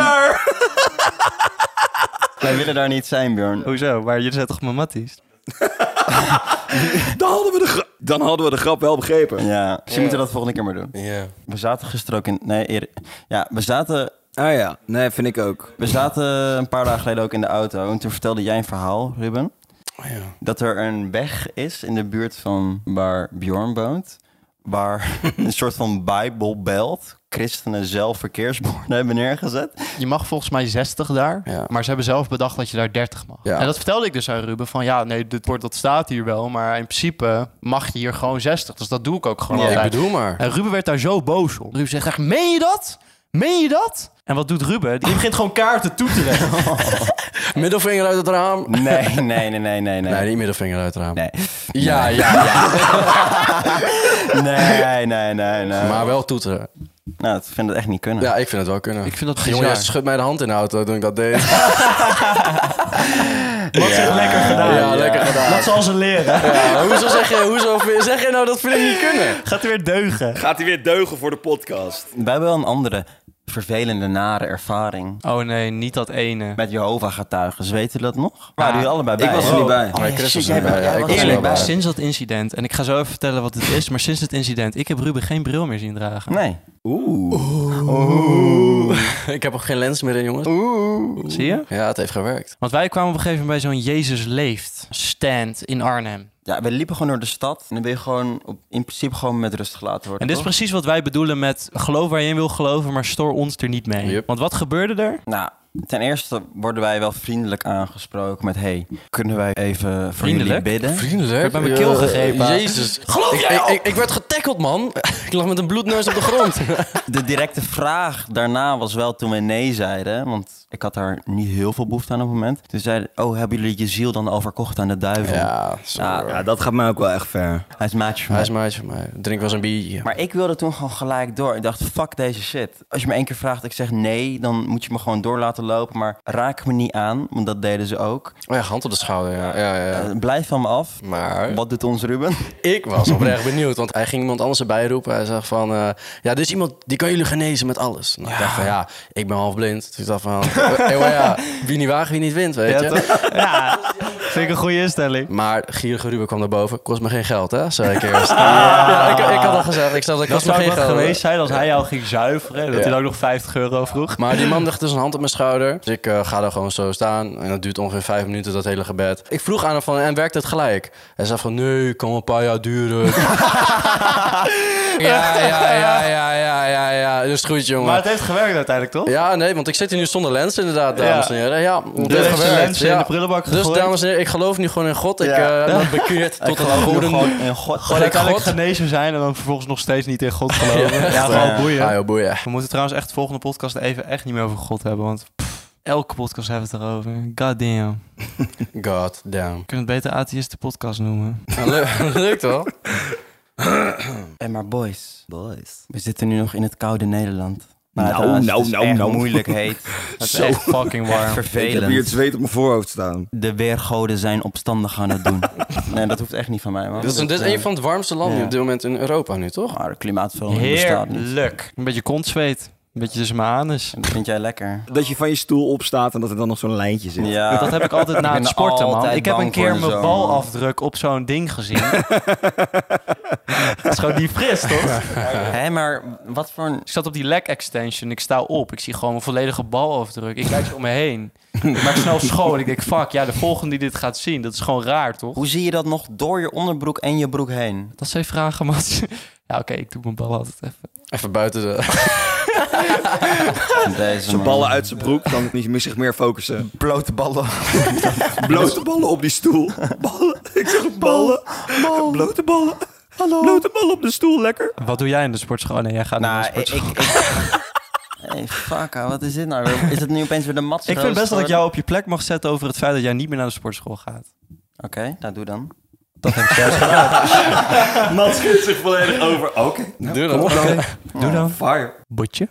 Speaker 1: Wij willen daar niet zijn, Björn.
Speaker 2: Hoezo? Maar jullie zijn toch mammatties?
Speaker 3: Dan hadden we de, gra- dan hadden we de grap wel begrepen.
Speaker 1: Ja, ze moeten dat volgende keer maar doen.
Speaker 5: Ja.
Speaker 1: We zaten gisteren ook in... Nee, eer- ja, we zaten,
Speaker 3: Ah ja, nee, vind ik ook.
Speaker 1: we zaten een paar dagen geleden ook in de auto. En toen vertelde jij een verhaal, Ruben.
Speaker 5: Ja.
Speaker 1: dat er een weg is in de buurt van waar Bjorn woont. Waar een soort van Bijbelbelt christenen zelf verkeersborden hebben neergezet.
Speaker 2: Je mag volgens mij 60 daar,
Speaker 5: Ja.
Speaker 2: maar ze hebben zelf bedacht dat je daar 30 mag.
Speaker 5: Ja.
Speaker 2: En dat vertelde ik dus aan Ruben van ja, nee, dit wordt, dat staat hier wel, maar in principe mag je hier gewoon 60. Dus dat doe ik ook gewoon
Speaker 1: Ja,
Speaker 2: altijd.
Speaker 5: Ik bedoel maar.
Speaker 2: En Ruben werd daar zo boos op. Ruben zegt echt, meen je dat? Meen je dat? En wat doet Ruben? Die begint gewoon kaarten toe te leggen.
Speaker 5: Middelvinger uit het raam.
Speaker 1: Nee, nee, nee, nee, nee,
Speaker 5: Nee,
Speaker 1: nee.
Speaker 5: niet middelvinger uit het raam.
Speaker 1: Nee,
Speaker 5: Ja, ja, ja.
Speaker 1: nee, nee, nee. nee.
Speaker 5: Maar wel toeteren.
Speaker 1: Nou, ik vind het echt niet kunnen.
Speaker 5: Ja, ik vind het wel kunnen.
Speaker 2: Ik vind dat
Speaker 5: Jongen,
Speaker 2: bizar.
Speaker 5: jij schudt mij de hand in de auto toen ik dat deed.
Speaker 2: Wat is het lekker gedaan?
Speaker 5: ja, lekker gedaan.
Speaker 2: Dat zal ze leren.
Speaker 5: Ja, hoezo zeg je, hoezo zeg je nou dat vind ik niet kunnen?
Speaker 2: Gaat er weer deugen.
Speaker 3: Gaat hij weer deugen voor de podcast?
Speaker 1: Wij hebben wel een andere vervelende, nare ervaring.
Speaker 2: Oh nee, niet dat ene.
Speaker 1: Met Jehovah-getuigen, Ze weten dat nog? Waren jullie allebei bij?
Speaker 3: Ik was er
Speaker 1: Oh.
Speaker 3: niet bij.
Speaker 1: Oh,
Speaker 5: Nee,
Speaker 1: ja,
Speaker 5: Chris
Speaker 1: shit,
Speaker 5: was er
Speaker 1: jij
Speaker 5: niet bij.
Speaker 1: bent-
Speaker 5: Ja,
Speaker 1: jij was er
Speaker 5: ik was er
Speaker 1: niet
Speaker 2: Eerlijk,
Speaker 5: wel
Speaker 1: bij.
Speaker 2: maar sinds dat incident, en ik ga zo even vertellen wat het is, maar sinds het incident, ik heb Ruben geen bril meer zien dragen.
Speaker 1: Nee.
Speaker 5: Ik heb ook geen lens meer in, jongens.
Speaker 2: Zie je?
Speaker 5: Ja, het heeft gewerkt.
Speaker 2: Want wij kwamen op een gegeven moment bij zo'n Jezus leeft stand in Arnhem.
Speaker 1: Ja, we liepen gewoon door de stad. En dan ben je gewoon op, in principe gewoon met rust gelaten worden.
Speaker 2: En dit is
Speaker 3: dus-
Speaker 1: toch?
Speaker 2: precies wat wij bedoelen met geloof waar je in wil geloven, maar stoor ons er niet mee.
Speaker 5: Yep.
Speaker 2: Want wat gebeurde er?
Speaker 1: Nou, ten eerste worden wij wel vriendelijk aangesproken met... hey, kunnen wij even voor jullie
Speaker 2: Vriendelijk?
Speaker 1: bidden?
Speaker 5: Vriendelijk. Ik
Speaker 2: werd bij mijn keel gegrepen.
Speaker 5: Jezus. Geloof ik, ik, ik, ik werd getackeld, man. ik lag met een bloedneus op de grond.
Speaker 1: De directe vraag daarna was wel toen we nee zeiden... want ik had daar niet heel veel behoefte aan op het moment. Toen zeiden oh, hebben jullie je ziel dan al verkocht aan de duivel?
Speaker 5: ja, sorry.
Speaker 3: Ja, dat gaat mij ook wel echt ver.
Speaker 1: Hij is maatje van
Speaker 5: Hij
Speaker 1: mij.
Speaker 5: is maatje van mij. Drink wel eens een biertje.
Speaker 1: Maar ik wilde toen gewoon gelijk door. Ik dacht, fuck deze shit. Als je me één keer vraagt, ik zeg nee... dan moet je me gewoon door laten lopen. Maar raak me niet aan, want dat deden ze ook.
Speaker 5: Oh ja, hand op de schouder, ja. ja, ja, ja.
Speaker 1: Eh, blijf van me af.
Speaker 5: Maar
Speaker 1: Wat doet ons Ruben?
Speaker 5: ik was oprecht benieuwd, want hij ging iemand anders erbij roepen. Hij zegt van, eh, ja, dit is iemand die kan jullie genezen met alles. Nou, Ik dacht van, ja, ik ben half blind. Dus ik dacht van, eh, maar ja, wie niet waagt, wie niet wint, weet je.
Speaker 2: Ja, vind ik een goede instelling.
Speaker 5: Maar gierige Ruben kwam naar boven. Kost me geen geld, hè? Zei ik eerst. ja. ik, ik had al gezegd. Ik zei, dat
Speaker 2: Dat
Speaker 5: kost me
Speaker 2: zou
Speaker 5: geen
Speaker 2: wel
Speaker 5: geld.
Speaker 2: geweest zijn als hij jou ging zuiveren. Dat
Speaker 5: Ja.
Speaker 2: hij dan ook nog 50 euro vroeg.
Speaker 5: Maar die man legt dus een hand op mijn schouder. Dus ik eh, ga daar gewoon zo staan. En dat duurt ongeveer vijf minuten, dat hele gebed. Ik vroeg aan hem van, en werkt het gelijk? Hij zei van, nee, kan wel een paar jaar duren. ja, ja, ja, ja, ja, ja, ja. Dus goed, jongen.
Speaker 2: Maar het heeft gewerkt uiteindelijk, toch?
Speaker 5: Ja, nee, want ik zit hier nu zonder lens inderdaad, dames
Speaker 2: Ja.
Speaker 5: en heren. Ja, het
Speaker 2: Dus
Speaker 5: heeft
Speaker 2: heeft de
Speaker 5: gewerkt,
Speaker 2: lens in de prullenbak
Speaker 5: Dus
Speaker 2: gegooid.
Speaker 5: dames en heren, ik geloof nu gewoon in God. Ik
Speaker 1: Ja.
Speaker 5: eh, ben bekeerd tot het goede.
Speaker 1: Gewoon in God.
Speaker 5: Gewoon uit
Speaker 2: uiteindelijk
Speaker 5: God.
Speaker 2: genezen zijn en dan vervolgens nog steeds niet in God geloven. ja,
Speaker 5: echt,
Speaker 2: gewoon
Speaker 1: ja.
Speaker 2: boeien.
Speaker 5: Ah, joh, boeien.
Speaker 2: We moeten trouwens echt de volgende podcast even echt niet meer over God hebben, want pff, elke podcast hebben we het erover. God damn.
Speaker 5: God damn.
Speaker 2: We kunnen het beter atheïste podcast noemen.
Speaker 5: Leuk, leuk toch?
Speaker 1: En maar boys,
Speaker 3: Boys.
Speaker 1: we zitten nu nog in het koude Nederland. Maar
Speaker 3: Nou,
Speaker 1: trouwens,
Speaker 3: nou,
Speaker 1: het is
Speaker 3: nou,
Speaker 1: echt
Speaker 3: nou.
Speaker 1: moeilijk heet. Het is
Speaker 3: Zo.
Speaker 1: echt
Speaker 5: Fucking
Speaker 1: echt
Speaker 5: warm.
Speaker 3: Ik heb
Speaker 1: vervelend.
Speaker 3: hier het zweet op mijn voorhoofd staan.
Speaker 1: De weergoden zijn opstandig aan het doen. nee, dat hoeft echt niet van mij, man.
Speaker 5: Dit is, Dus dit is een van de warmste landen
Speaker 1: Ja.
Speaker 5: op dit moment in Europa nu, toch?
Speaker 1: eh, Maar de klimaatverandering bestaat niet.
Speaker 2: Heerlijk. Een beetje kontzweet. Een beetje tussen mijn anus.
Speaker 1: Dat vind jij lekker.
Speaker 3: Dat je van je stoel opstaat en dat er dan nog zo'n lijntje zit.
Speaker 1: Ja.
Speaker 2: Dat heb ik altijd na
Speaker 1: ben
Speaker 2: het sporten, man.
Speaker 1: altijd
Speaker 2: Ik heb een
Speaker 1: bang voor
Speaker 2: keer
Speaker 1: de
Speaker 2: mijn
Speaker 1: zomer.
Speaker 2: balafdruk op zo'n ding gezien. Dat is gewoon niet fris, toch?
Speaker 1: Hé, maar wat voor een...
Speaker 2: Ik zat op die leg extension. Ik sta op. Ik zie gewoon mijn volledige balafdruk. Ik kijk zo om me heen. Ik maak snel schoon. Ik denk, fuck, ja, de volgende die dit gaat zien. Dat is gewoon raar, toch?
Speaker 1: Hoe zie je dat nog door je onderbroek en je broek heen?
Speaker 2: Dat zijn vragen, Mats. Ja, oké, ik doe mijn bal altijd even.
Speaker 5: Even buiten de...
Speaker 1: Deze
Speaker 3: Zijn
Speaker 1: man.
Speaker 3: ballen uit zijn broek, dan niet meer zich meer focussen.
Speaker 1: blote ballen.
Speaker 3: Blote ballen op die stoel. Ballen. Ik zeg ballen. Blote ballen. Hallo. Blote ballen op de stoel, lekker.
Speaker 2: Wat doe jij in de sportschool? Nee, jij gaat naar de
Speaker 1: Nou, ik...
Speaker 2: sportschool.
Speaker 1: ik, hey, fuck, ah, wat is dit nou? weer? Is het nu opeens weer de matse
Speaker 2: Ik vind best dat ik jou op je plek mag zetten over het feit dat jij niet meer naar de sportschool gaat.
Speaker 1: Oké, nou doe dan.
Speaker 3: Mats schiet zich volledig over. Oké. Nou,
Speaker 5: Doe dat.
Speaker 3: kom op dan.
Speaker 2: Doe dan.
Speaker 3: Fire.
Speaker 2: Botje.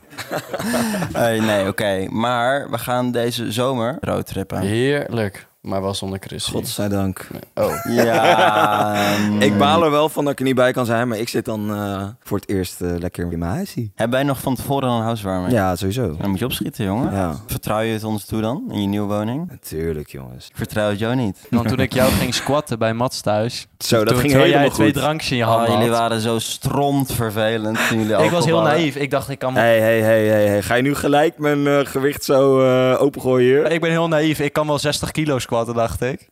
Speaker 1: Hey, nee, oké. Maar we gaan deze zomer roadtrippen.
Speaker 5: Heerlijk. Maar wel zonder Chris.
Speaker 3: Godzijdank.
Speaker 5: Oh.
Speaker 1: Ja. mm.
Speaker 3: Ik baal er wel van dat ik er niet bij kan zijn, maar ik zit dan eh, voor het eerst eh, lekker in mijn huisie.
Speaker 1: Hebben wij nog van tevoren een housewarming?
Speaker 3: Ja, sowieso.
Speaker 1: Dan moet je opschieten, jongen.
Speaker 3: Ja,
Speaker 1: Vertrouw je het ons toe dan, in je nieuwe woning?
Speaker 3: natuurlijk jongens.
Speaker 1: Ik vertrouw het jou niet.
Speaker 2: Want toen ik jou ging squatten bij Mats thuis,
Speaker 3: Zo, dat
Speaker 2: toen,
Speaker 3: ging
Speaker 2: terwijl jij
Speaker 3: helemaal
Speaker 2: twee
Speaker 3: goed.
Speaker 2: drankjes in je
Speaker 1: Oh,
Speaker 2: handen
Speaker 1: jullie
Speaker 2: had.
Speaker 1: waren zo strontvervelend. toen jullie
Speaker 2: Ik was
Speaker 1: alcohol
Speaker 2: heel
Speaker 1: hadden.
Speaker 2: naïef. Ik dacht, ik kan...
Speaker 3: Hey, hey, hey, hey, hey. Ga je nu gelijk mijn eh, gewicht zo eh, opengooien hier?
Speaker 2: Ik ben heel naïef. Ik kan wel 60 kilo squatten, dacht ik.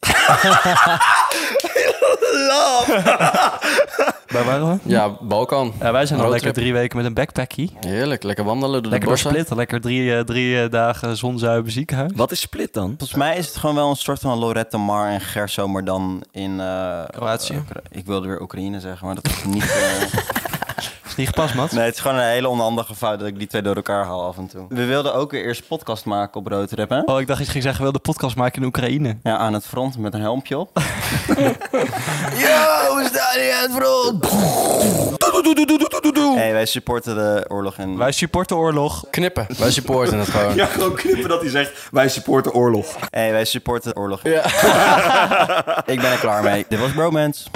Speaker 2: Waar waren we?
Speaker 5: Ja, Balkan.
Speaker 2: Ja, wij zijn al
Speaker 5: Roadtrip.
Speaker 2: lekker drie weken met een backpackie.
Speaker 5: Heerlijk. Lekker wandelen door
Speaker 2: Lekker
Speaker 5: de
Speaker 2: door
Speaker 5: bossen.
Speaker 2: splitten. Lekker drie, eh, drie eh, dagen zonzuiver ziekenhuis.
Speaker 3: Wat is split dan?
Speaker 1: Volgens mij is het gewoon wel een soort van Lorette Mar en Gerso, maar dan in... eh,
Speaker 2: Kroatië.
Speaker 1: eh, Oekra- ik wilde weer Oekraïne zeggen, maar dat is niet... eh,
Speaker 2: Is niet gepast, Mats?
Speaker 1: nee, het is gewoon een hele onhandige fout dat ik die twee door elkaar haal af en toe. We wilden ook weer eerst podcast maken op Roadtrip, hè?
Speaker 2: Oh, ik dacht, ik ging zeggen, wil de podcast maken in Oekraïne.
Speaker 1: Ja, aan het front met een helmpje op. Yo, we staan hier aan het front! hey, wij supporten de oorlog in...
Speaker 2: Wij supporten oorlog.
Speaker 5: Knippen. Wij supporten het gewoon.
Speaker 3: Ja, gewoon knippen dat hij zegt, wij supporten oorlog.
Speaker 1: hey, wij supporten de oorlog. ik ben er klaar mee. Dit was Bromance.